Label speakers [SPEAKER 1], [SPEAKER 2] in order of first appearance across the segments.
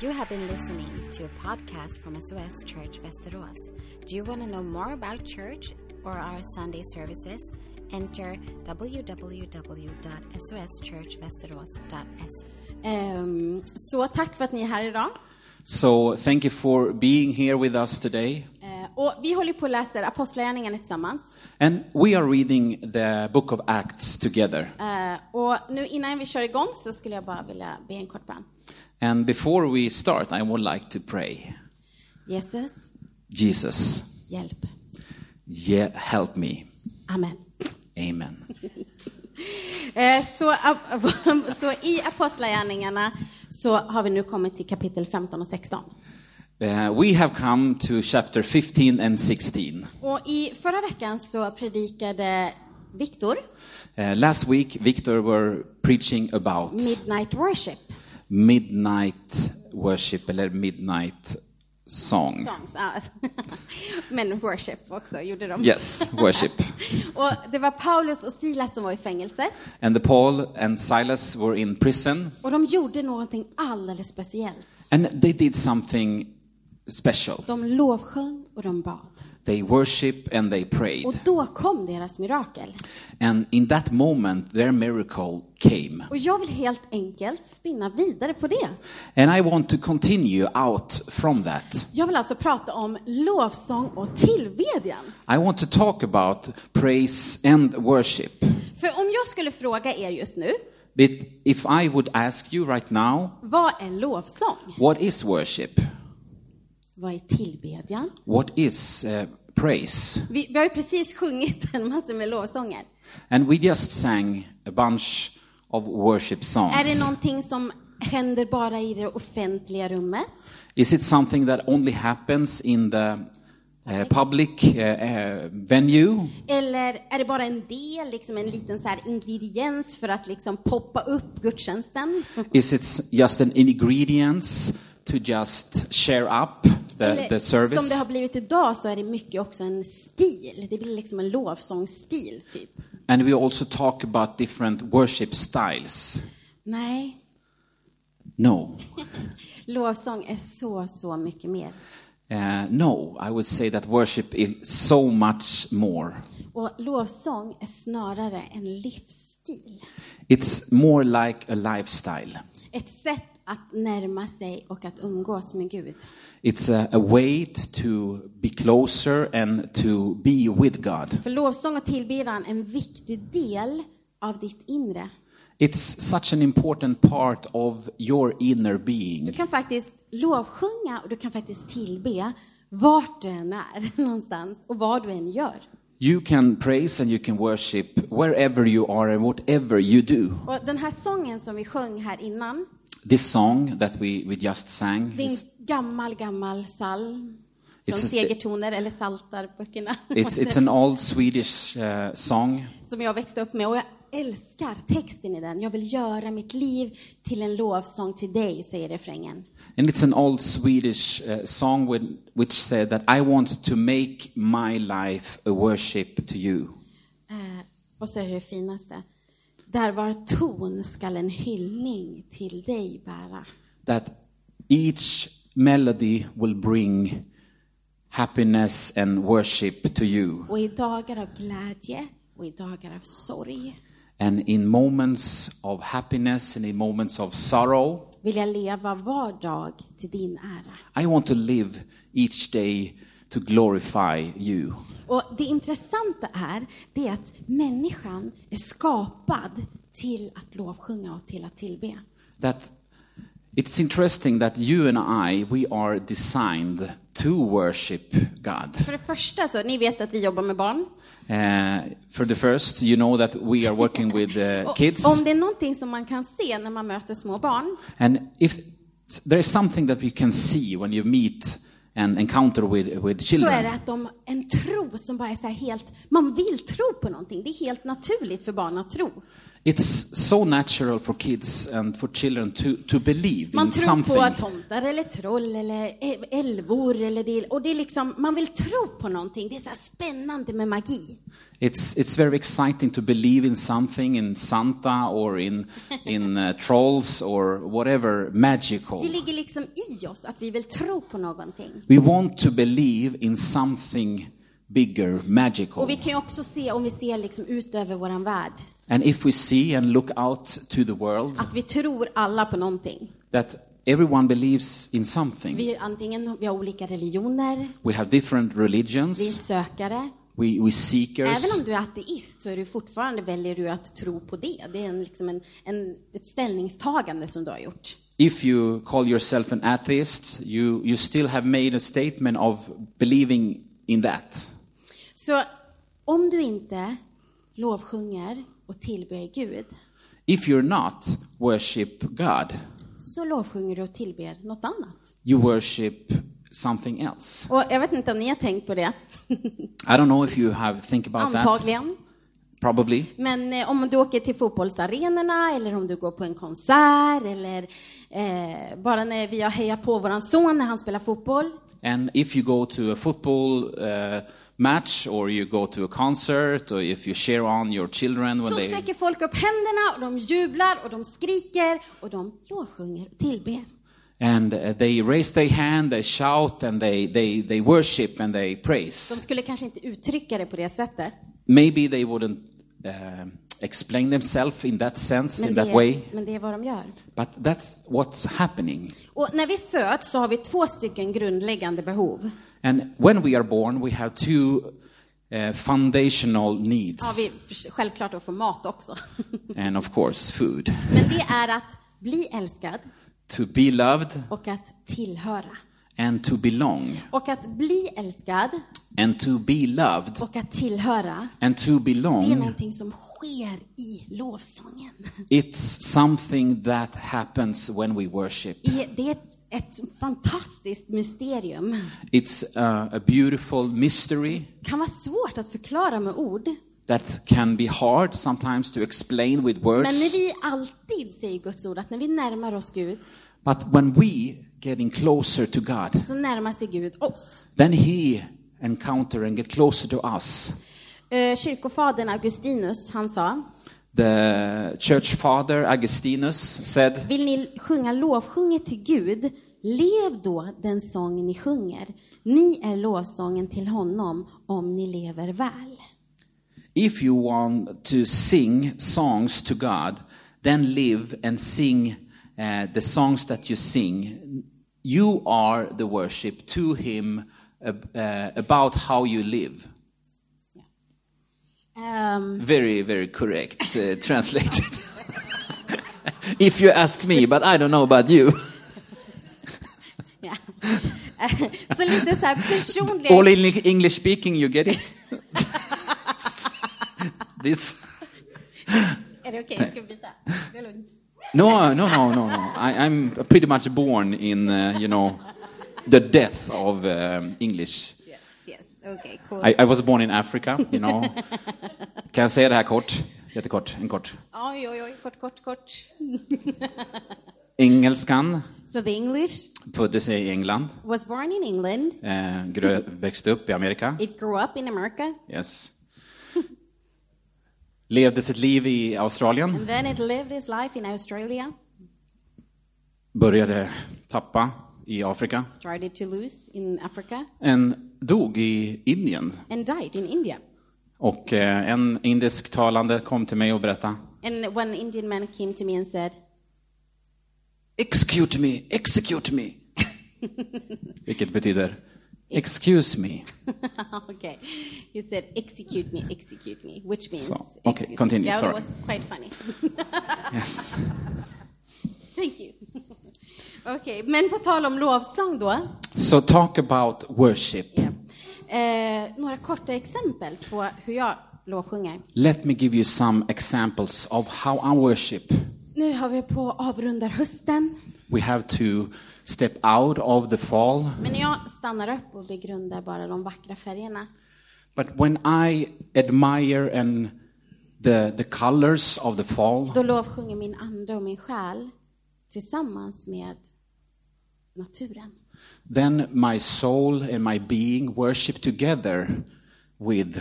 [SPEAKER 1] You have been listening to a podcast from SOS Church Västerås. Do you want to know more about church or our Sunday services? Enter www.soschurchvesteros.se.
[SPEAKER 2] Ehm, Så tack för att ni är här idag.
[SPEAKER 3] So thank you for being here with us today.
[SPEAKER 2] Eh, Och vi håller på och läser Apostlagärningarna tillsammans.
[SPEAKER 3] And we are reading the book of Acts together.
[SPEAKER 2] Eh, Och nu innan vi kör igång så skulle jag bara vilja be en kort bön.
[SPEAKER 3] And before we start, I would like to pray.
[SPEAKER 2] Jesus,
[SPEAKER 3] Jesus,
[SPEAKER 2] hjälp.
[SPEAKER 3] yeah, help me.
[SPEAKER 2] Amen.
[SPEAKER 3] Amen.
[SPEAKER 2] Eh, Så, ap- så i Apostlagärningarna så har vi nu kommit till kapitel 15 och 16.
[SPEAKER 3] Uh, we have come to chapter 15 and 16.
[SPEAKER 2] Och i förra veckan så predikade Viktor
[SPEAKER 3] Uh, last week, Victor were preaching about
[SPEAKER 2] Midnight Worship.
[SPEAKER 3] midnight worship, eller midnight song.
[SPEAKER 2] Songs, ja. Men worship också gjorde de.
[SPEAKER 3] Yes, worship.
[SPEAKER 2] Och det var Paulus och Silas som var i fängelset
[SPEAKER 3] And the Paul and Silas were in prison,
[SPEAKER 2] och de gjorde någonting alldeles speciellt.
[SPEAKER 3] and they did something special.
[SPEAKER 2] De lovsjöng och de bad.
[SPEAKER 3] They worship and they prayed.
[SPEAKER 2] Och då kom deras mirakel.
[SPEAKER 3] And in that moment, their miracle came.
[SPEAKER 2] Och jag vill helt enkelt spinna vidare på det.
[SPEAKER 3] And I want to continue out from that.
[SPEAKER 2] Jag vill alltså prata om lovsång och tillbedjan.
[SPEAKER 3] I want to talk about praise and worship.
[SPEAKER 2] För om jag skulle fråga er just nu,
[SPEAKER 3] But if I would ask you right now,
[SPEAKER 2] vad är lovsång?
[SPEAKER 3] what is worship?
[SPEAKER 2] Vad är tillbedjan?
[SPEAKER 3] What is uh, praise?
[SPEAKER 2] Vi, vi har ju precis sjungit en massa med lovsånger.
[SPEAKER 3] And we just sang a bunch of worship songs.
[SPEAKER 2] Är det någonting som händer bara i det offentliga rummet?
[SPEAKER 3] Is it something that only happens in the uh, public uh, uh, venue?
[SPEAKER 2] Eller är det bara en del, liksom en liten så här ingrediens för att liksom poppa upp gudstjänsten?
[SPEAKER 3] Is it s- just an ingredients to just share up the,
[SPEAKER 2] Eller,
[SPEAKER 3] the service?
[SPEAKER 2] Som det har blivit idag så är det mycket också en stil. Det blir liksom en lovsångsstil, typ.
[SPEAKER 3] And we also talk about different worship styles.
[SPEAKER 2] Nej,
[SPEAKER 3] No,
[SPEAKER 2] lovsång är så, så mycket mer.
[SPEAKER 3] uh, no, I would say that worship is so much more.
[SPEAKER 2] Och lovsång är snarare en livsstil.
[SPEAKER 3] It's more like a lifestyle.
[SPEAKER 2] Ett sätt att närma sig och att umgås med Gud.
[SPEAKER 3] It's a, a way to be closer and to be with God.
[SPEAKER 2] För lovsång och tillbedjan är en viktig del av ditt inre.
[SPEAKER 3] It's such an important part of your inner
[SPEAKER 2] Du
[SPEAKER 3] being.
[SPEAKER 2] kan faktiskt lovsjunga och du kan faktiskt tillbe vart du än är någonstans och vad du än gör.
[SPEAKER 3] You can praise and you can worship wherever you are and whatever you do.
[SPEAKER 2] Och den här sången som vi sjöng här innan,
[SPEAKER 3] This song that we, we just sang,
[SPEAKER 2] det är en
[SPEAKER 3] is-
[SPEAKER 2] gammal, gammal psalm från
[SPEAKER 3] It's a-
[SPEAKER 2] Segertoner eller Saltarböckerna
[SPEAKER 3] it's, it's an old Swedish uh, song.
[SPEAKER 2] som jag växte upp med. Och jag älskar texten i den. Jag vill göra mitt liv till en lovsång till dig, säger refrängen.
[SPEAKER 3] And it's an old Swedish uh, song with, which said that I want to make my life a worship to you.
[SPEAKER 2] Eh, och så är det det finaste. Där var ton skall en hyllning till dig bära.
[SPEAKER 3] That each melody will bring happiness and worship to you.
[SPEAKER 2] Och i dagar av glädje och i dagar av sorg
[SPEAKER 3] And in moments of happiness and in moments of sorrow,
[SPEAKER 2] vill jag leva var dag till din ära.
[SPEAKER 3] I want to live each day to glorify you.
[SPEAKER 2] Och det intressanta är, det är att människan är skapad till att lovsjunga och till att tillbe.
[SPEAKER 3] That it's interesting that you and I, we are designed to worship God.
[SPEAKER 2] För det första, så, ni vet att vi jobbar med barn.
[SPEAKER 3] Uh, for the first, you know that we are working with uh,
[SPEAKER 2] Och
[SPEAKER 3] kids,
[SPEAKER 2] om det är någonting som man kan se när man möter små barn,
[SPEAKER 3] and if there is something that you can see when you meet and encounter with with
[SPEAKER 2] så är
[SPEAKER 3] children,
[SPEAKER 2] det att de en tro som bara är så här helt, man vill tro på någonting. Det är helt naturligt för barn att tro.
[SPEAKER 3] it's so natural for kids and for children to to believe
[SPEAKER 2] Man
[SPEAKER 3] in
[SPEAKER 2] tror
[SPEAKER 3] something.
[SPEAKER 2] på tomtar eller troll eller e, ä- älvor eller det, och det är liksom, man vill tro på någonting. Det är så här spännande med magi.
[SPEAKER 3] It's, it's very exciting to believe in something, in Santa or in, in uh, trolls or whatever magical.
[SPEAKER 2] Det ligger liksom i oss att vi vill tro på någonting.
[SPEAKER 3] We want to believe in something bigger, magical.
[SPEAKER 2] Och vi kan ju också se, om vi ser liksom ut över vår värld,
[SPEAKER 3] And if we see and look out to the world,
[SPEAKER 2] att vi tror alla på någonting.
[SPEAKER 3] that everyone believes in something.
[SPEAKER 2] Vi, är antingen, vi har olika religioner,
[SPEAKER 3] We have different
[SPEAKER 2] vi är
[SPEAKER 3] religions,
[SPEAKER 2] sökare.
[SPEAKER 3] we, we
[SPEAKER 2] Även
[SPEAKER 3] seekers.
[SPEAKER 2] om du är ateist så är du fortfarande, väljer du att tro på det. Det är en, liksom en, en, ett ställningstagande som du har gjort.
[SPEAKER 3] If you call yourself an atheist, you, you still have made a statement of believing in that.
[SPEAKER 2] Så om du inte lovsjunger och tillber Gud,
[SPEAKER 3] If you're not worship God,
[SPEAKER 2] så lovsjunger du och tillber något annat.
[SPEAKER 3] you worship something else.
[SPEAKER 2] Och jag vet inte om ni har tänkt på det,
[SPEAKER 3] I don't know if you have think about that.
[SPEAKER 2] antagligen.
[SPEAKER 3] Probably.
[SPEAKER 2] Men eh, om du åker till fotbollsarenorna eller om du går på en konsert eller eh, bara när vi har hejat på våran son när han spelar fotboll.
[SPEAKER 3] And if you go to a football uh, match or you go to a concert or if you cheer on your children when
[SPEAKER 2] Så
[SPEAKER 3] they
[SPEAKER 2] sträcker folk upp händerna och de jublar och de skriker och de lovsjunger och tillber.
[SPEAKER 3] and uh, they raise their hand, they shout and they, they, they worship and they
[SPEAKER 2] De
[SPEAKER 3] praise.
[SPEAKER 2] skulle kanske inte uttrycka det på det sättet.
[SPEAKER 3] Maybe they wouldn't uh, explain themselves in that sense, in
[SPEAKER 2] Men
[SPEAKER 3] that
[SPEAKER 2] det,
[SPEAKER 3] way,
[SPEAKER 2] men det är vad de gör.
[SPEAKER 3] but that's what's happening.
[SPEAKER 2] Och när vi föds så har vi två stycken grundläggande behov.
[SPEAKER 3] And when we are born, we have two uh, foundational needs,
[SPEAKER 2] Ja, vi självklart att få mat också.
[SPEAKER 3] and of course, food.
[SPEAKER 2] Men det är att bli älskad
[SPEAKER 3] To be loved
[SPEAKER 2] och att tillhöra.
[SPEAKER 3] and to belong,
[SPEAKER 2] Och att bli älskad
[SPEAKER 3] and to be loved
[SPEAKER 2] och att tillhöra,
[SPEAKER 3] And to
[SPEAKER 2] det är
[SPEAKER 3] belong,
[SPEAKER 2] någonting som sker i lovsången.
[SPEAKER 3] it's something that happens when we worship.
[SPEAKER 2] I- Det är ett, ett fantastiskt mysterium.
[SPEAKER 3] It's uh, a beautiful mystery
[SPEAKER 2] kan vara svårt att förklara med ord.
[SPEAKER 3] that can be hard sometimes to explain with
[SPEAKER 2] Men när
[SPEAKER 3] words.
[SPEAKER 2] vi alltid säger Guds ord, att när vi närmar oss Gud,
[SPEAKER 3] But when we getting closer to God,
[SPEAKER 2] så närmar sig Gud oss.
[SPEAKER 3] then He encounter and get closer to us.
[SPEAKER 2] Eh, Kyrkofadern Augustinus, han sa,
[SPEAKER 3] The church father Augustinus said,
[SPEAKER 2] vill ni sjunga lovsjunger till Gud, lev då den sång ni sjunger. Ni är lovsången till honom om ni lever väl.
[SPEAKER 3] "If you want to sing songs to God, then live and sing uh, the songs that you sing. You are the worship to Him uh, uh, about how you live."
[SPEAKER 2] Ehm,
[SPEAKER 3] Very, very correct uh, translated. if you ask me, but I don't know about you.
[SPEAKER 2] Ja. Så lite så här personliga...
[SPEAKER 3] All in English speaking, you get it. this.
[SPEAKER 2] Är det okej? Jag ska byta. Det är lugnt.
[SPEAKER 3] No, no, no, no, no. I, I'm pretty much born in, uh, you know, the death of um, English.
[SPEAKER 2] Yes, yes. Okej, cool.
[SPEAKER 3] I, I was born in Africa, you know. Kan jag säga det här kort? Jättekort, en kort.
[SPEAKER 2] Oj, oj, oj. Kort, kort, kort.
[SPEAKER 3] Engelskan
[SPEAKER 2] So the English
[SPEAKER 3] föddes i England,
[SPEAKER 2] was born in England.
[SPEAKER 3] eh, grö, växte upp i Amerika.
[SPEAKER 2] It grew up in America.
[SPEAKER 3] Yes. Levde sitt liv i Australien,
[SPEAKER 2] And then it lived its life in Australia.
[SPEAKER 3] började tappa i Afrika,
[SPEAKER 2] Started to lose in Africa.
[SPEAKER 3] en dog i Indien.
[SPEAKER 2] And died in India.
[SPEAKER 3] Och eh, en indisktalande kom till mig och berättade
[SPEAKER 2] And one Indian man came to me and said,
[SPEAKER 3] Execute me, execute me. Vilket betyder excuse me.
[SPEAKER 2] okay. He said, execute me, execute me. Which means...
[SPEAKER 3] So, okay,
[SPEAKER 2] excuse me.
[SPEAKER 3] continue,
[SPEAKER 2] Yeah,
[SPEAKER 3] sorry.
[SPEAKER 2] That was quite funny.
[SPEAKER 3] Yes.
[SPEAKER 2] Thank you. Okej, men på tal om lovsång då.
[SPEAKER 3] So talk about worship.
[SPEAKER 2] Eh, några korta exempel på hur jag lovsjunger.
[SPEAKER 3] Let me give you some examples of how I worship.
[SPEAKER 2] Nu har vi på att avrundar hösten,
[SPEAKER 3] We have to step out of the fall.
[SPEAKER 2] men jag stannar upp och begrundar bara de vackra färgerna.
[SPEAKER 3] But when I admire and the, the colors of the fall,
[SPEAKER 2] Då lovsjunger min ande och min själ tillsammans med naturen.
[SPEAKER 3] then my soul and my being worship together with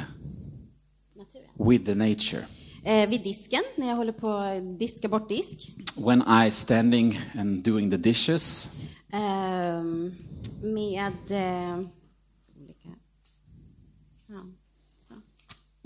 [SPEAKER 2] naturen.
[SPEAKER 3] with the nature.
[SPEAKER 2] Eh, vid disken, när jag håller på att diska bort disk.
[SPEAKER 3] When I standing and doing the dishes,
[SPEAKER 2] Ehm, med... Eh, olika. Ja, så.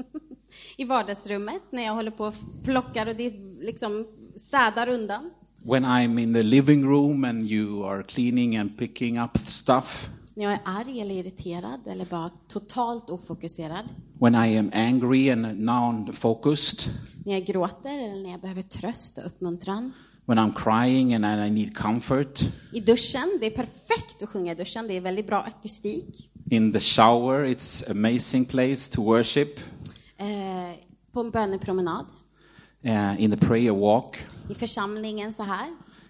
[SPEAKER 2] I vardagsrummet när jag håller på och plockar och det liksom städar undan.
[SPEAKER 3] when I'm in the living room and you are cleaning and picking up stuff,
[SPEAKER 2] När jag är arg eller irriterad eller bara totalt ofokuserad.
[SPEAKER 3] when I am angry and non-focused,
[SPEAKER 2] När jag gråter eller när jag behöver tröst och uppmuntran.
[SPEAKER 3] when I'm crying and I need comfort,
[SPEAKER 2] I duschen, det är perfekt att sjunga i duschen, det är väldigt bra akustik.
[SPEAKER 3] in the shower, it's amazing place to worship,
[SPEAKER 2] Eh, på en bönepromenad,
[SPEAKER 3] uh, in the prayer walk,
[SPEAKER 2] i församlingen så här.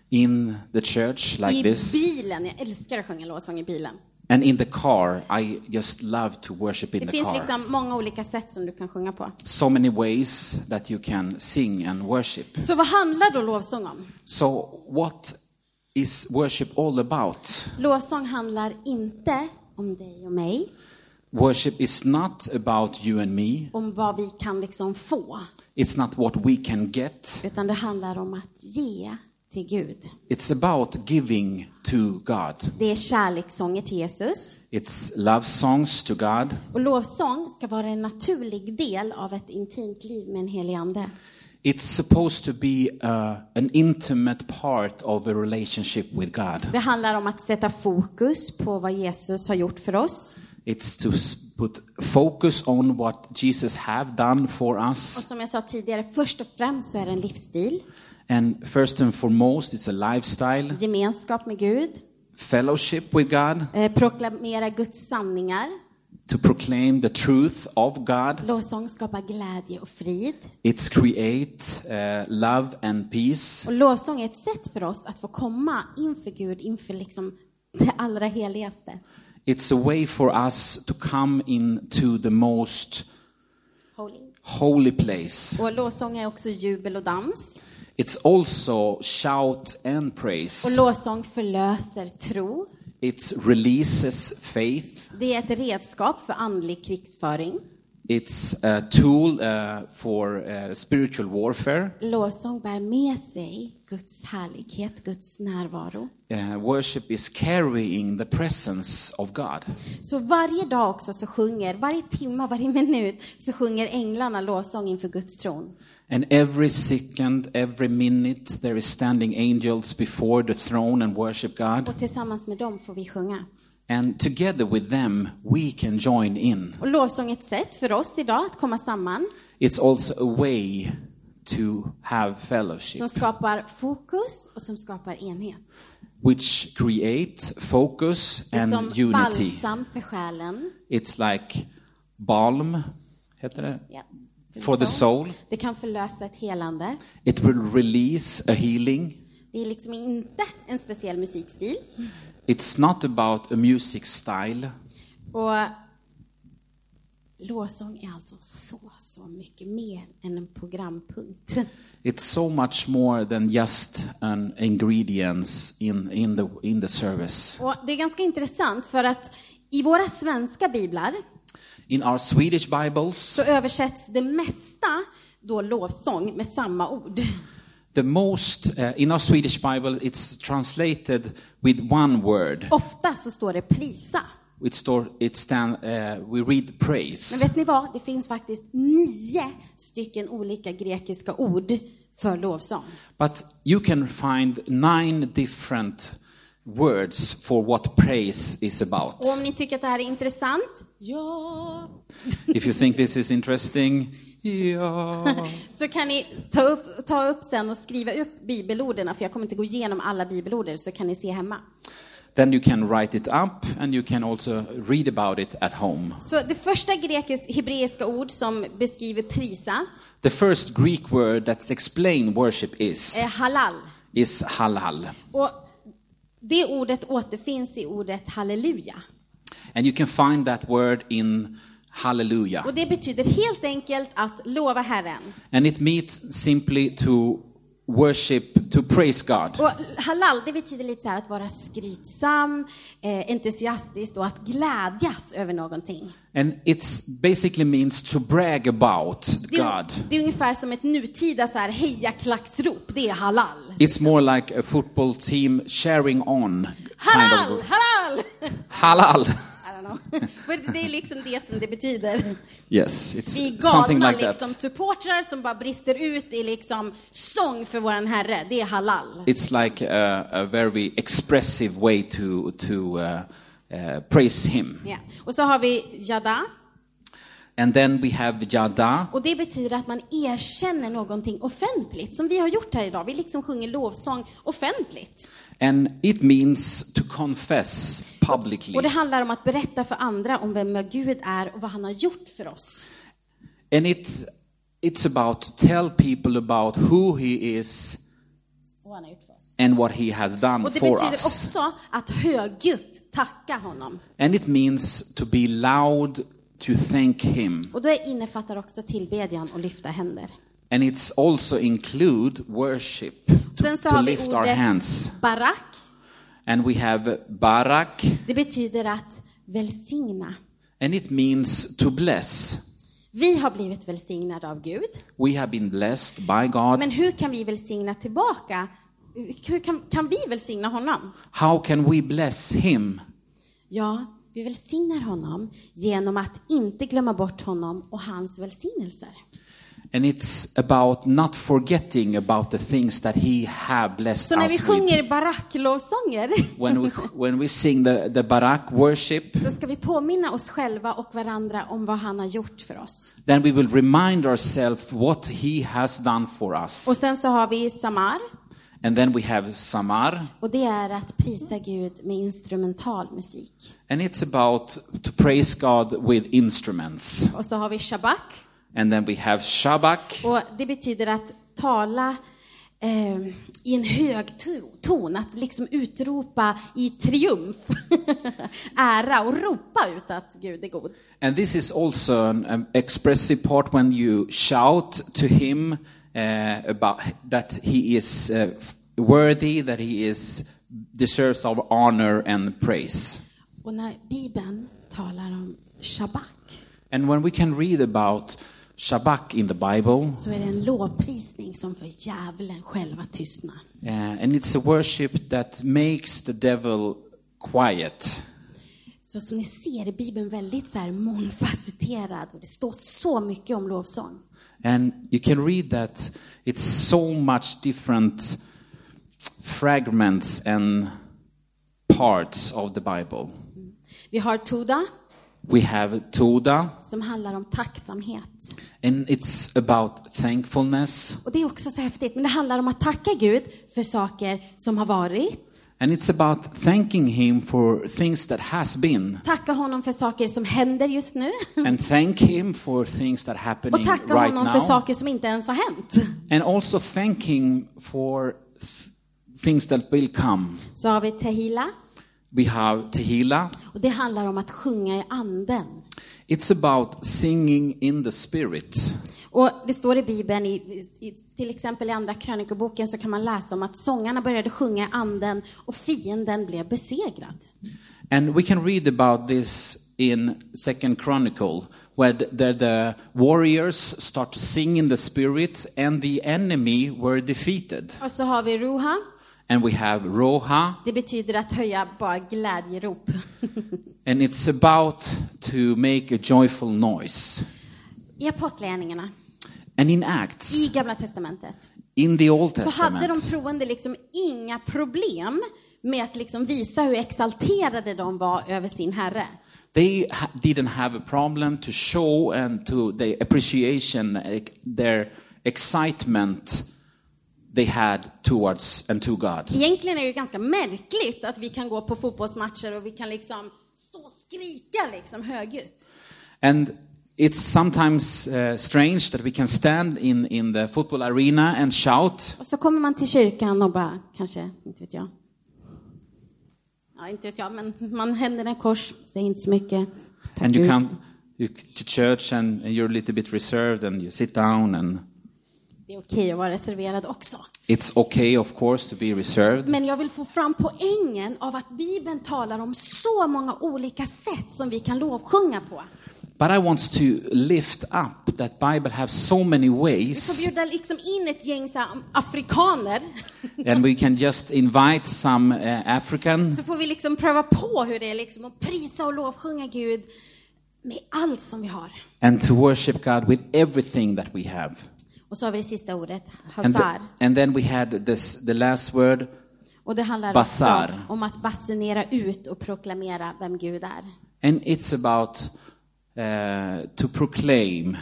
[SPEAKER 3] in the church like
[SPEAKER 2] I
[SPEAKER 3] this.
[SPEAKER 2] bilen, jag älskar att sjunga lovsång i bilen.
[SPEAKER 3] And in the car, I just love to worship in
[SPEAKER 2] Det
[SPEAKER 3] the
[SPEAKER 2] finns
[SPEAKER 3] car.
[SPEAKER 2] liksom många olika sätt som du kan sjunga på.
[SPEAKER 3] So many ways that you can sing and worship.
[SPEAKER 2] Så vad handlar då lovsång om?
[SPEAKER 3] So, what is worship all about?
[SPEAKER 2] Lovsång handlar inte om dig och mig,
[SPEAKER 3] Worship is not about you and me,
[SPEAKER 2] om vad vi kan liksom få,
[SPEAKER 3] it's not what we can get,
[SPEAKER 2] utan det handlar om att ge till Gud.
[SPEAKER 3] it's about giving to God.
[SPEAKER 2] Det är kärlekssånger till Jesus.
[SPEAKER 3] It's love songs to God.
[SPEAKER 2] Och lovsång ska vara en naturlig del av ett intimt liv med en helig ande.
[SPEAKER 3] It's supposed to be uh, an intimate part of a relationship with God.
[SPEAKER 2] Det handlar om att sätta fokus på vad Jesus har gjort för oss.
[SPEAKER 3] It's to s- put focus on what Jesus have done for us.
[SPEAKER 2] Och som jag sa tidigare, först och främst så är det en livsstil,
[SPEAKER 3] And first and foremost, it's a lifestyle,
[SPEAKER 2] gemenskap med Gud,
[SPEAKER 3] fellowship with God,
[SPEAKER 2] eh, proklamera Guds sanningar.
[SPEAKER 3] to proclaim the truth of God.
[SPEAKER 2] Lovsång skapar glädje och frid.
[SPEAKER 3] It's create uh, love and peace.
[SPEAKER 2] Och lovsång är ett sätt för oss att få komma inför Gud, inför liksom det allra heligaste.
[SPEAKER 3] It's a way for us to come into the most
[SPEAKER 2] Holy.
[SPEAKER 3] holy place.
[SPEAKER 2] Och lovsång är också jubel och dans.
[SPEAKER 3] It's also shout and
[SPEAKER 2] Och
[SPEAKER 3] praise.
[SPEAKER 2] lovsång förlöser tro.
[SPEAKER 3] It releases faith.
[SPEAKER 2] Det är ett redskap för andlig krigsföring.
[SPEAKER 3] It's a tool uh, for uh, spiritual warfare.
[SPEAKER 2] Lovsång bär med sig Guds härlighet, Guds närvaro.
[SPEAKER 3] Uh, worship is carrying the presence of God.
[SPEAKER 2] Så varje dag också så sjunger, varje timme, varje minut så sjunger änglarna lovsång inför Guds tron.
[SPEAKER 3] And every second, every minute, there is standing angels before the throne and worship God.
[SPEAKER 2] Och tillsammans med dem får vi sjunga.
[SPEAKER 3] And together with them, we can join in.
[SPEAKER 2] Och lovsång är ett sätt för oss idag att komma samman
[SPEAKER 3] It's also a way to have fellowship,
[SPEAKER 2] som skapar fokus och som skapar enhet.
[SPEAKER 3] which create focus
[SPEAKER 2] Det är som
[SPEAKER 3] and unity.
[SPEAKER 2] balsam för själen.
[SPEAKER 3] It's like balm, heter det?
[SPEAKER 2] Ja,
[SPEAKER 3] For the soul.
[SPEAKER 2] Det kan förlösa ett helande.
[SPEAKER 3] It will release a healing.
[SPEAKER 2] Det är liksom inte en speciell musikstil.
[SPEAKER 3] It's not about a music style.
[SPEAKER 2] Och lovsång är alltså så, så mycket mer än en programpunkt.
[SPEAKER 3] It's so much more than just an ingredients in, in, the, in the service.
[SPEAKER 2] Och det är ganska intressant för att i våra svenska biblar
[SPEAKER 3] In our Swedish Bibles,
[SPEAKER 2] så översätts det mesta då lovsång med samma ord.
[SPEAKER 3] the most, uh, in our Swedish Bible, it's translated with one word.
[SPEAKER 2] Ofta så står det prisa.
[SPEAKER 3] It store, it stand, uh, we read
[SPEAKER 2] Men
[SPEAKER 3] praise.
[SPEAKER 2] vet ni vad? Det finns faktiskt nio stycken olika grekiska ord för lovsång.
[SPEAKER 3] But you can find nine different words for what praise is about.
[SPEAKER 2] Och om ni tycker att det här är intressant, ja,
[SPEAKER 3] If you think this is interesting, yeah.
[SPEAKER 2] så kan ni ta upp, ta upp sen och skriva upp bibelorden, för jag kommer inte gå igenom alla bibelord, så kan ni se hemma.
[SPEAKER 3] then you can write it up and you can also read about it at home.
[SPEAKER 2] Så det första grekis- hebreiska ord som beskriver prisa
[SPEAKER 3] The first Greek word that's explained worship is
[SPEAKER 2] är halal.
[SPEAKER 3] is halal.
[SPEAKER 2] Och det ordet återfinns i ordet halleluja.
[SPEAKER 3] And you can find that word in hallelujah.
[SPEAKER 2] Och det betyder helt enkelt att lova Herren.
[SPEAKER 3] And it means simply to worship, to praise God.
[SPEAKER 2] Och halal, det betyder lite så här att vara skrytsam, eh, entusiastisk och att glädjas över någonting.
[SPEAKER 3] And it basically means to brag about
[SPEAKER 2] Det är,
[SPEAKER 3] God.
[SPEAKER 2] det är ungefär som ett nutida så här hejaklacksrop, det är halal.
[SPEAKER 3] It's more like a football team sharing on kind
[SPEAKER 2] Halal,
[SPEAKER 3] of
[SPEAKER 2] halal!
[SPEAKER 3] halal.
[SPEAKER 2] I don't know. Men det är liksom det som det betyder.
[SPEAKER 3] Yes, it's
[SPEAKER 2] Vi är
[SPEAKER 3] something
[SPEAKER 2] galna
[SPEAKER 3] like that.
[SPEAKER 2] liksom, supportrar som bara brister ut i liksom sång för våran herre, det är halal.
[SPEAKER 3] It's like a, a very expressive way to to uh, uh, praise Him.
[SPEAKER 2] Ja. Och så har vi jada,
[SPEAKER 3] And then we have Yada.
[SPEAKER 2] och det betyder att man erkänner någonting offentligt, som vi har gjort här idag. Vi liksom sjunger lovsång offentligt.
[SPEAKER 3] And it means to confess publicly.
[SPEAKER 2] Och det handlar om att berätta för andra om vem Gud är och vad han har gjort för oss.
[SPEAKER 3] And it, it's about to tell people about who He is
[SPEAKER 2] Och vad han har gjort för oss.
[SPEAKER 3] and what He has done
[SPEAKER 2] Och det
[SPEAKER 3] Mm, for
[SPEAKER 2] betyder
[SPEAKER 3] us.
[SPEAKER 2] också att högljutt tacka honom.
[SPEAKER 3] And it means to be loud to thank Him.
[SPEAKER 2] Och det innefattar också tillbedjan och lyfta händer.
[SPEAKER 3] And it's also include worship, to,
[SPEAKER 2] Sen så
[SPEAKER 3] to
[SPEAKER 2] har vi
[SPEAKER 3] lift our hands.
[SPEAKER 2] ordet barak.
[SPEAKER 3] And we have Barak,
[SPEAKER 2] Det betyder att välsigna.
[SPEAKER 3] and it means to bless.
[SPEAKER 2] Vi har blivit välsignade av Gud,
[SPEAKER 3] We have been blessed by God.
[SPEAKER 2] men hur kan vi välsigna tillbaka? Hur kan, kan vi välsigna honom?
[SPEAKER 3] How can we bless Him?
[SPEAKER 2] Ja, vi välsignar honom genom att inte glömma bort honom och hans välsignelser.
[SPEAKER 3] And it's about not forgetting about the things that He have blessed
[SPEAKER 2] Så när vi
[SPEAKER 3] us with.
[SPEAKER 2] sjunger baracklovsånger
[SPEAKER 3] When we, when we sing the, the Barak worship,
[SPEAKER 2] så ska vi påminna oss själva och varandra om vad han har gjort för oss.
[SPEAKER 3] then we will remind ourselves what He has done for us.
[SPEAKER 2] Och sen så har vi samar,
[SPEAKER 3] And then we have Samar,
[SPEAKER 2] och det är att prisa Gud med instrumental musik.
[SPEAKER 3] and it's about to praise God with instruments.
[SPEAKER 2] Och så har vi shabak,
[SPEAKER 3] And then we have Shabak,
[SPEAKER 2] Och det betyder att tala eh, i en hög to- ton, att liksom utropa i triumf, ära och ropa ut att Gud är god.
[SPEAKER 3] and this is also an um, expressive part when you shout to Him uh, about that He is uh, worthy, that He is deserves our honor and praise.
[SPEAKER 2] Och när Bibeln talar om shabak
[SPEAKER 3] And when we can read about Shabak in the Bible,
[SPEAKER 2] så är det en lovprisning som får djävulen själv att tystna.
[SPEAKER 3] uh, and it's a worship that makes the devil quiet.
[SPEAKER 2] Så som ni ser är Bibeln väldigt så här mångfacetterad och det står så mycket om lovsång.
[SPEAKER 3] And you can read that it's so much different fragments and parts of the Bible.
[SPEAKER 2] Vi har Toda
[SPEAKER 3] We have Toda,
[SPEAKER 2] som handlar om tacksamhet.
[SPEAKER 3] and it's about thankfulness,
[SPEAKER 2] Och det är också så häftigt, men det handlar om att tacka Gud för saker som har varit,
[SPEAKER 3] and it's about thanking Him for things that has been,
[SPEAKER 2] tacka honom för saker som händer just nu
[SPEAKER 3] and thank Him for things that
[SPEAKER 2] och
[SPEAKER 3] happening
[SPEAKER 2] tacka
[SPEAKER 3] right
[SPEAKER 2] honom för
[SPEAKER 3] now,
[SPEAKER 2] saker som inte ens har hänt.
[SPEAKER 3] and also thanking for th- things that will come.
[SPEAKER 2] Så har vi Tehila
[SPEAKER 3] We have Tehillah.
[SPEAKER 2] och det handlar om att sjunga i anden.
[SPEAKER 3] It's about singing in the spirit.
[SPEAKER 2] Och det står i Bibeln, i, i, till exempel i andra krönikoboken så kan man läsa om att sångarna började sjunga i anden och fienden blev besegrad.
[SPEAKER 3] And we can read about this in Second Chronicle, where the, the- the warriors start to sing in the spirit, and the enemy were defeated.
[SPEAKER 2] Och så har vi Ruha,
[SPEAKER 3] And we have Roha,
[SPEAKER 2] det betyder att höja bara glädjerop.
[SPEAKER 3] and it's about to make a joyful noise.
[SPEAKER 2] I Apostlagärningarna,
[SPEAKER 3] And in Acts,
[SPEAKER 2] i Gamla Testamentet,
[SPEAKER 3] in the Old
[SPEAKER 2] så hade de
[SPEAKER 3] Testament,
[SPEAKER 2] troende liksom inga problem med att liksom visa hur exalterade de var över sin herre.
[SPEAKER 3] they ha- didn't have a problem to show and to the appreciation, eh, their excitement they had towards and to God.
[SPEAKER 2] Egentligen är det ju ganska märkligt att vi kan gå på fotbollsmatcher och vi kan liksom stå och skrika liksom högljutt.
[SPEAKER 3] And it's sometimes uh, strange that we can stand in, in the football arena and shout.
[SPEAKER 2] Och så kommer man till kyrkan och bara, kanske, inte vet jag. Ja, inte vet jag, men man händer en kors, säger inte så mycket. Mm. Tack
[SPEAKER 3] And you
[SPEAKER 2] Gud.
[SPEAKER 3] come you, to church and you're a little bit reserved and you sit down and
[SPEAKER 2] Det Det är okej att vara reserverad också.
[SPEAKER 3] It's okay, of course, to be reserved,
[SPEAKER 2] Men jag vill få fram poängen av att Bibeln talar om så många olika sätt som vi kan lovsjunga på.
[SPEAKER 3] but I want to lift up that Bible has so many
[SPEAKER 2] Vi får
[SPEAKER 3] ways,
[SPEAKER 2] bjuda liksom in ett gäng så här, afrikaner,
[SPEAKER 3] and we can just invite some uh, African,
[SPEAKER 2] så får vi liksom pröva på hur det är liksom att prisa och lovsjunga Gud med allt som vi har.
[SPEAKER 3] and to worship God with everything that we have.
[SPEAKER 2] Och så har vi det sista ordet,
[SPEAKER 3] And, the-
[SPEAKER 2] hazar.
[SPEAKER 3] and then we had this, the last word,
[SPEAKER 2] Och det handlar också
[SPEAKER 3] Bazar.
[SPEAKER 2] om att basunera ut och proklamera vem Gud är.
[SPEAKER 3] and it's about uh, to proclaim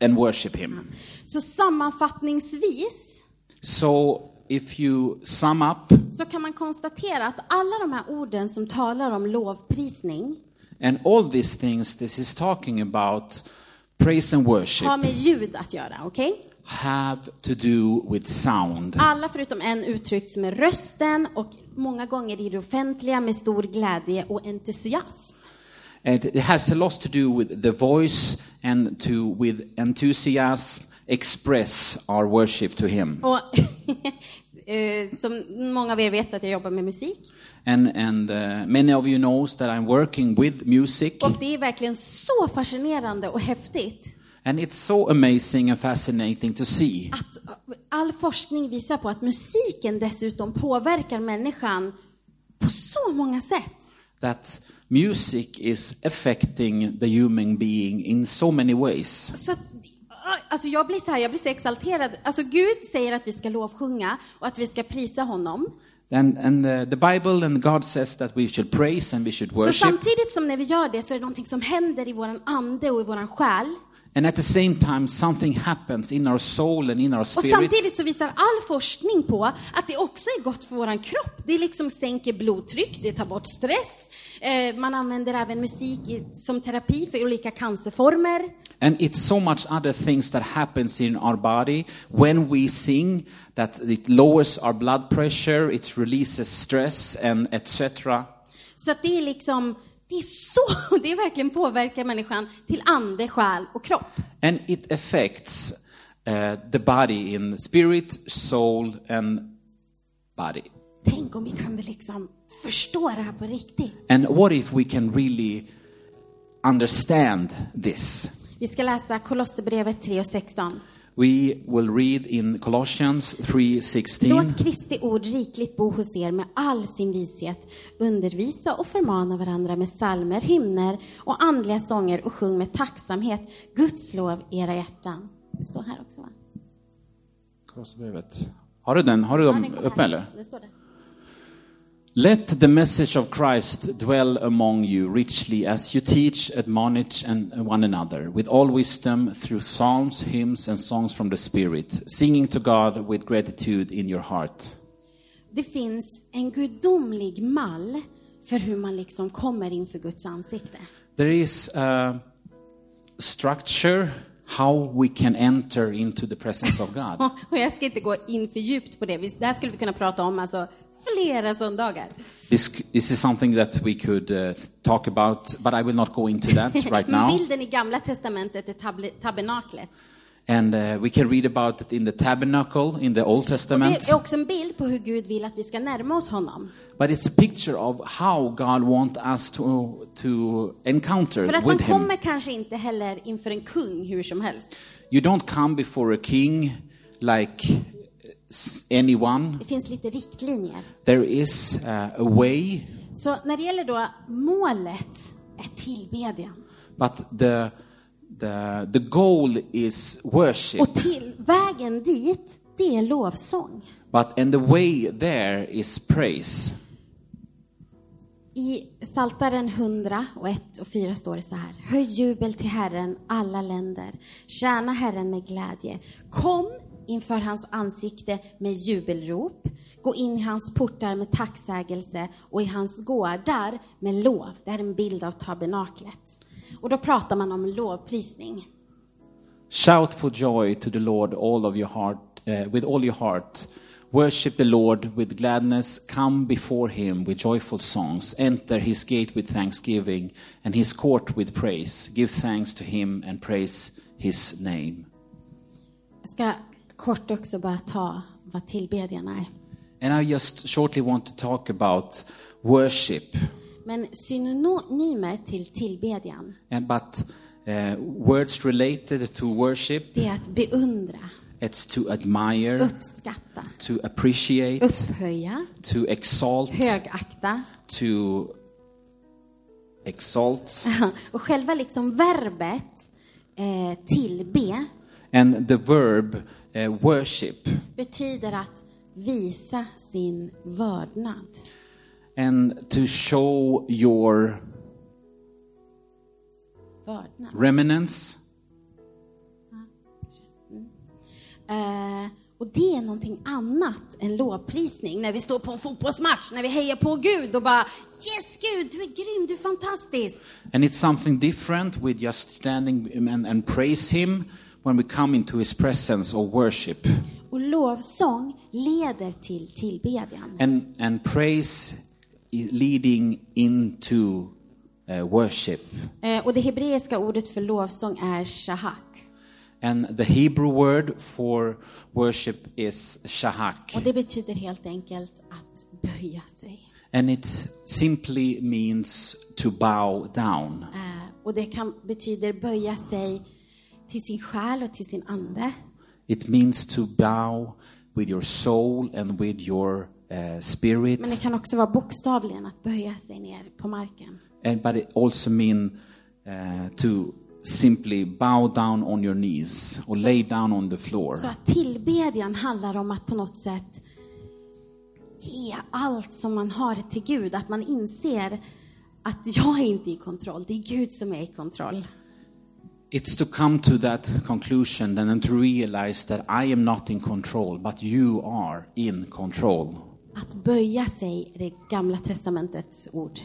[SPEAKER 3] and worship Him.
[SPEAKER 2] Så sammanfattningsvis
[SPEAKER 3] So if you sum up
[SPEAKER 2] så kan man konstatera att alla de här orden som talar om lovprisning
[SPEAKER 3] And all these things this is talking about praise and worship
[SPEAKER 2] har med ljud att göra, okej?
[SPEAKER 3] have to do with sound.
[SPEAKER 2] Alla förutom en uttrycks med rösten och många gånger i det offentliga med stor glädje och entusiasm.
[SPEAKER 3] And it has a lot to do with the voice and to with enthusiasm express our worship to him.
[SPEAKER 2] Och eh, som många av er vet att jag jobbar med musik
[SPEAKER 3] And and uh, many of you knows that I'm working with music
[SPEAKER 2] och det är verkligen så fascinerande och häftigt
[SPEAKER 3] and it's so amazing and fascinating to see.
[SPEAKER 2] att all forskning visar på att musiken dessutom påverkar människan på så många sätt.
[SPEAKER 3] That music is affecting the human being in so many ways.
[SPEAKER 2] Så att, alltså jag blir så här, jag blir så exalterad. Alltså Gud säger att vi ska lovsjunga och att vi ska prisa honom.
[SPEAKER 3] And, and uh, the, the Bible and God says that we should praise and we should
[SPEAKER 2] Så
[SPEAKER 3] worship.
[SPEAKER 2] samtidigt som när vi gör det så är det någonting som händer i våran ande och i våran själ.
[SPEAKER 3] And at the same time, something happens in our soul and in our
[SPEAKER 2] Och
[SPEAKER 3] spirit.
[SPEAKER 2] samtidigt så visar all forskning på att det också är gott för våran kropp. Det liksom sänker blodtryck, det tar bort stress. Eh, man använder även musik i, som terapi för olika cancerformer.
[SPEAKER 3] And it's so much other things that happens in our body when we sing that it lowers our blood pressure, it releases stress and etc.
[SPEAKER 2] Så att det är liksom, det är så, det verkligen påverkar människan till ande, själ och kropp.
[SPEAKER 3] And it affects uh, the body in spirit, soul and body.
[SPEAKER 2] Tänk om vi kunde liksom förstå det här på riktigt.
[SPEAKER 3] And what if we can really understand this?
[SPEAKER 2] Vi ska läsa Kolosserbrevet 3 och 16.
[SPEAKER 3] We will read in Colossians 3:16.
[SPEAKER 2] Låt Kristi ord rikligt bo hos er med all sin vishet. Undervisa och förmana varandra med psalmer, hymner och andliga sånger och sjung med tacksamhet Guds lov i era hjärtan. Det står här också va?
[SPEAKER 3] Har du den? Har du
[SPEAKER 2] Ja,
[SPEAKER 3] dem
[SPEAKER 2] den kommer
[SPEAKER 3] uppe
[SPEAKER 2] här.
[SPEAKER 3] eller?
[SPEAKER 2] Den står där.
[SPEAKER 3] Let the message of Christ dwell among you richly as you teach, admonish and one another with all wisdom through psalms, hymns and songs from the Spirit, singing to God with gratitude in your heart.
[SPEAKER 2] Det finns en gudomlig mall för hur man liksom kommer inför Guds ansikte.
[SPEAKER 3] There is a structure how we can enter into the presence of God.
[SPEAKER 2] Och- Och jag ska inte gå in för djupt på det. Vi- Det här skulle vi kunna prata om alltså flera söndagar.
[SPEAKER 3] This, this is something that we could uh, talk about, but I will not go into that right
[SPEAKER 2] Men
[SPEAKER 3] now.
[SPEAKER 2] Bilden i Gamla Testamentet är tabl- tabernaklet.
[SPEAKER 3] And uh, we can read about it in the tabernacle in the Old Testament.
[SPEAKER 2] Det är också en bild på hur Gud vill att vi ska närma oss honom.
[SPEAKER 3] But it's a picture of how God wants us to, to encounter
[SPEAKER 2] För att man
[SPEAKER 3] with Him.
[SPEAKER 2] kommer kanske inte heller inför en kung hur som helst.
[SPEAKER 3] You don't come before a king like s- anyone.
[SPEAKER 2] Det finns lite riktlinjer.
[SPEAKER 3] There is uh, a way,
[SPEAKER 2] Så när det gäller då målet är tillbedjan.
[SPEAKER 3] but the, the, the goal is worship.
[SPEAKER 2] Och till, vägen dit, det är lovsång.
[SPEAKER 3] But, and the way there is praise.
[SPEAKER 2] I Saltaren 100 och 1 och 4 står det så här. Höj jubel till Herren, alla länder. Tjäna Herren med glädje. Kom inför hans ansikte med jubelrop. Gå in i hans portar med tacksägelse och i hans gårdar med lov. Det här är en bild av tabernaklet. Och då pratar man om lovprisning.
[SPEAKER 3] Shout for joy to the Lord all of your heart, uh, with all your heart. Worship the Lord with gladness. Come before him with joyful songs. Enter his gate with thanksgiving and his court with praise. Give thanks to him and praise his name.
[SPEAKER 2] Jag ska kort också bara ta vad tillbedjan är.
[SPEAKER 3] And I just shortly want to talk about worship,
[SPEAKER 2] Men synonymer till tillbedjan,
[SPEAKER 3] and, but uh, words related to worship,
[SPEAKER 2] det är att beundra,
[SPEAKER 3] it's to admire,
[SPEAKER 2] uppskatta,
[SPEAKER 3] to appreciate,
[SPEAKER 2] upphöja,
[SPEAKER 3] to exalt,
[SPEAKER 2] högakta.
[SPEAKER 3] to exalt.
[SPEAKER 2] Och själva liksom verbet eh, tillbe
[SPEAKER 3] And the verb uh, worship,
[SPEAKER 2] betyder att visa sin vördnad.
[SPEAKER 3] and to show your
[SPEAKER 2] vördnad.
[SPEAKER 3] remnants.
[SPEAKER 2] Eh, och det är någonting annat än lovprisning, när vi står på en fotbollsmatch, när vi hejar på Gud och bara Yes Gud, du är grym, du är fantastisk.
[SPEAKER 3] And it's something different with just standing and, and praise Him when we come into His presence or worship.
[SPEAKER 2] Och lovsång leder till tillbedjan.
[SPEAKER 3] And, and praise is leading into uh, worship.
[SPEAKER 2] Eh, och det hebreiska ordet för lovsång är shahak.
[SPEAKER 3] And the Hebrew word for worship is
[SPEAKER 2] Och
[SPEAKER 3] shahak.
[SPEAKER 2] det betyder helt enkelt att böja sig.
[SPEAKER 3] And it simply means to bow down.
[SPEAKER 2] Eh, och det kan, betyder böja sig till sin själ och till sin ande.
[SPEAKER 3] It means to bow with your soul and with your uh, spirit.
[SPEAKER 2] Men det kan också vara bokstavligen att böja sig ner på marken.
[SPEAKER 3] and but it also mean uh, to simply bow down on your knees or lay down on the floor.
[SPEAKER 2] Så att tillbedjan handlar om att på något sätt ge allt som man har till Gud. Att man inser att jag är inte i kontroll, det är Gud som är i kontroll.
[SPEAKER 3] It's to come to that conclusion and then to realize that I am not in control, but you are in control.
[SPEAKER 2] Att böja sig, det gamla testamentets ord.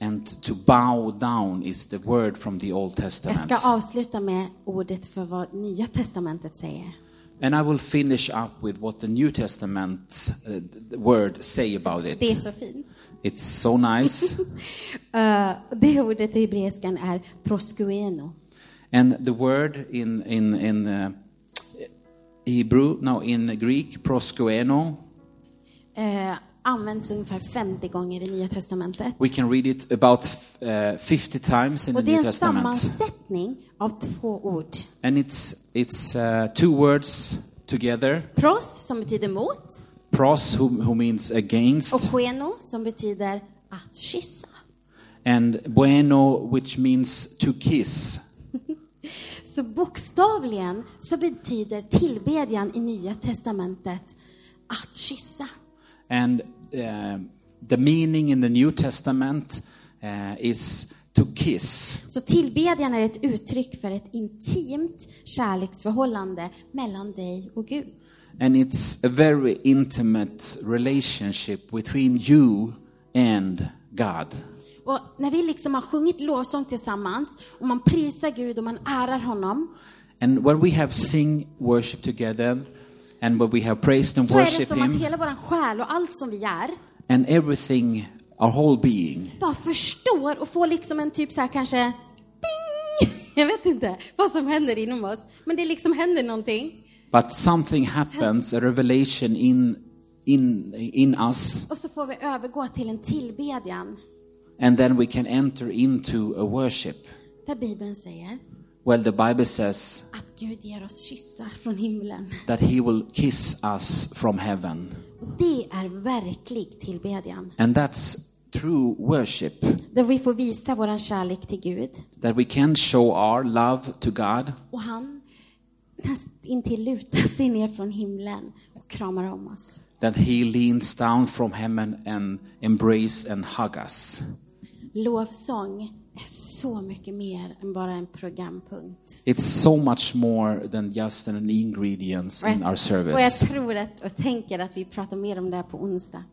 [SPEAKER 3] And to bow down is the word from the Old
[SPEAKER 2] Jag
[SPEAKER 3] Testament.
[SPEAKER 2] ska avsluta med ordet för vad nya testamentet säger.
[SPEAKER 3] And I will finish up with what the New Testament uh, the word say about
[SPEAKER 2] Det är
[SPEAKER 3] it.
[SPEAKER 2] så fint.
[SPEAKER 3] It's so nice.
[SPEAKER 2] Eh, det ordet i hebreiskan är proskueno.
[SPEAKER 3] And the word in in in uh, Hebrew, no, in Greek, proskueno.
[SPEAKER 2] Eh, används ungefär 50 gånger i Nya Testamentet.
[SPEAKER 3] We can read it about uh, 50 times in the
[SPEAKER 2] Och det
[SPEAKER 3] New
[SPEAKER 2] är en
[SPEAKER 3] Testament,
[SPEAKER 2] sammansättning av två ord.
[SPEAKER 3] and it's it's uh, two words together:
[SPEAKER 2] Pros som betyder mot
[SPEAKER 3] pros, who, who means
[SPEAKER 2] och
[SPEAKER 3] against,
[SPEAKER 2] queno som betyder att kyssa.
[SPEAKER 3] and bueno, which means to kiss.
[SPEAKER 2] Så bokstavligen så betyder tillbedjan i Nya Testamentet att kyssa.
[SPEAKER 3] And uh, the meaning in the New Testament uh, is to kiss.
[SPEAKER 2] Så tillbedjan är ett uttryck för ett intimt kärleksförhållande mellan dig och Gud.
[SPEAKER 3] And it's a very intimate relationship between you and God.
[SPEAKER 2] Och när vi liksom har sjungit lovsång tillsammans och man prisar Gud och man ärar honom
[SPEAKER 3] And when we have sing worship together, and when we have praised and
[SPEAKER 2] så är det
[SPEAKER 3] worship
[SPEAKER 2] som att
[SPEAKER 3] Him,
[SPEAKER 2] hela vår själ och allt som vi är
[SPEAKER 3] and everything, our whole being,
[SPEAKER 2] bara förstår och får liksom en typ så här kanske ping! Jag vet inte vad som händer inom oss, men det liksom händer någonting.
[SPEAKER 3] but something happens, a revelation in in in us,
[SPEAKER 2] Och så får vi övergå till en tillbedjan
[SPEAKER 3] and then we can enter into a worship.
[SPEAKER 2] där Bibeln säger
[SPEAKER 3] Well, the Bible says
[SPEAKER 2] att Gud ger oss kyssar från himlen.
[SPEAKER 3] that He will kiss us from heaven,
[SPEAKER 2] Och det är verklig tillbedjan.
[SPEAKER 3] and that's true worship.
[SPEAKER 2] Där vi får visa vår kärlek till Gud.
[SPEAKER 3] that we can show our love to God
[SPEAKER 2] Och han intill lutar sig ner från himlen och kramar om oss.
[SPEAKER 3] that He leans down from heaven and embrace and hug us.
[SPEAKER 2] Lovsång är så mycket mer än bara en programpunkt.
[SPEAKER 3] It's so much more than just an ingredients in our
[SPEAKER 2] Och jag
[SPEAKER 3] service.
[SPEAKER 2] tror att, och tänker att vi pratar mer om det här på onsdag.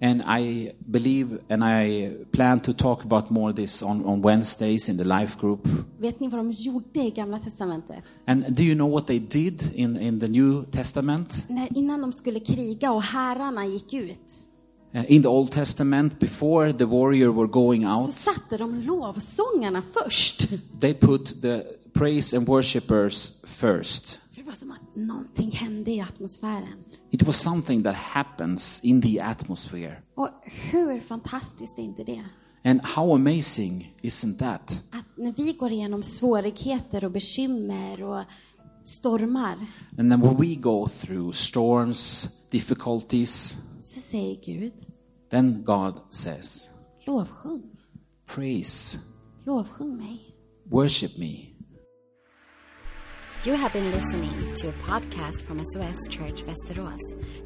[SPEAKER 3] And I believe and I plan to talk about more this on, on Wednesdays in the life group.
[SPEAKER 2] Vet ni vad de gjorde i Gamla Testamentet?
[SPEAKER 3] And do you know what they did in, in the New Testament?
[SPEAKER 2] När, innan de skulle kriga och härarna gick ut
[SPEAKER 3] Uh, In the Old Testament, before the warrior were going
[SPEAKER 2] så
[SPEAKER 3] out,
[SPEAKER 2] satte de lovsångarna först.
[SPEAKER 3] they put the praise and worshippers first.
[SPEAKER 2] För det var som att någonting hände i atmosfären.
[SPEAKER 3] It was something that happens in the atmosphere.
[SPEAKER 2] Och hur fantastiskt är inte det?
[SPEAKER 3] And how amazing isn't that?
[SPEAKER 2] Att när vi går igenom svårigheter och bekymmer och stormar
[SPEAKER 3] And then when we go through storms, difficulties,
[SPEAKER 2] så säger Gud
[SPEAKER 3] then God says,
[SPEAKER 2] lovsjung,
[SPEAKER 3] Praise,
[SPEAKER 2] lovsjung mig.
[SPEAKER 3] worship me.
[SPEAKER 1] You have been listening to a podcast from SOS Church Västerås.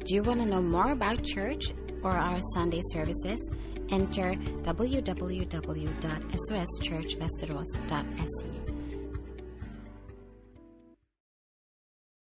[SPEAKER 1] Do you want to know more about church or our Sunday services? Enter www.soschurchvesteros.se.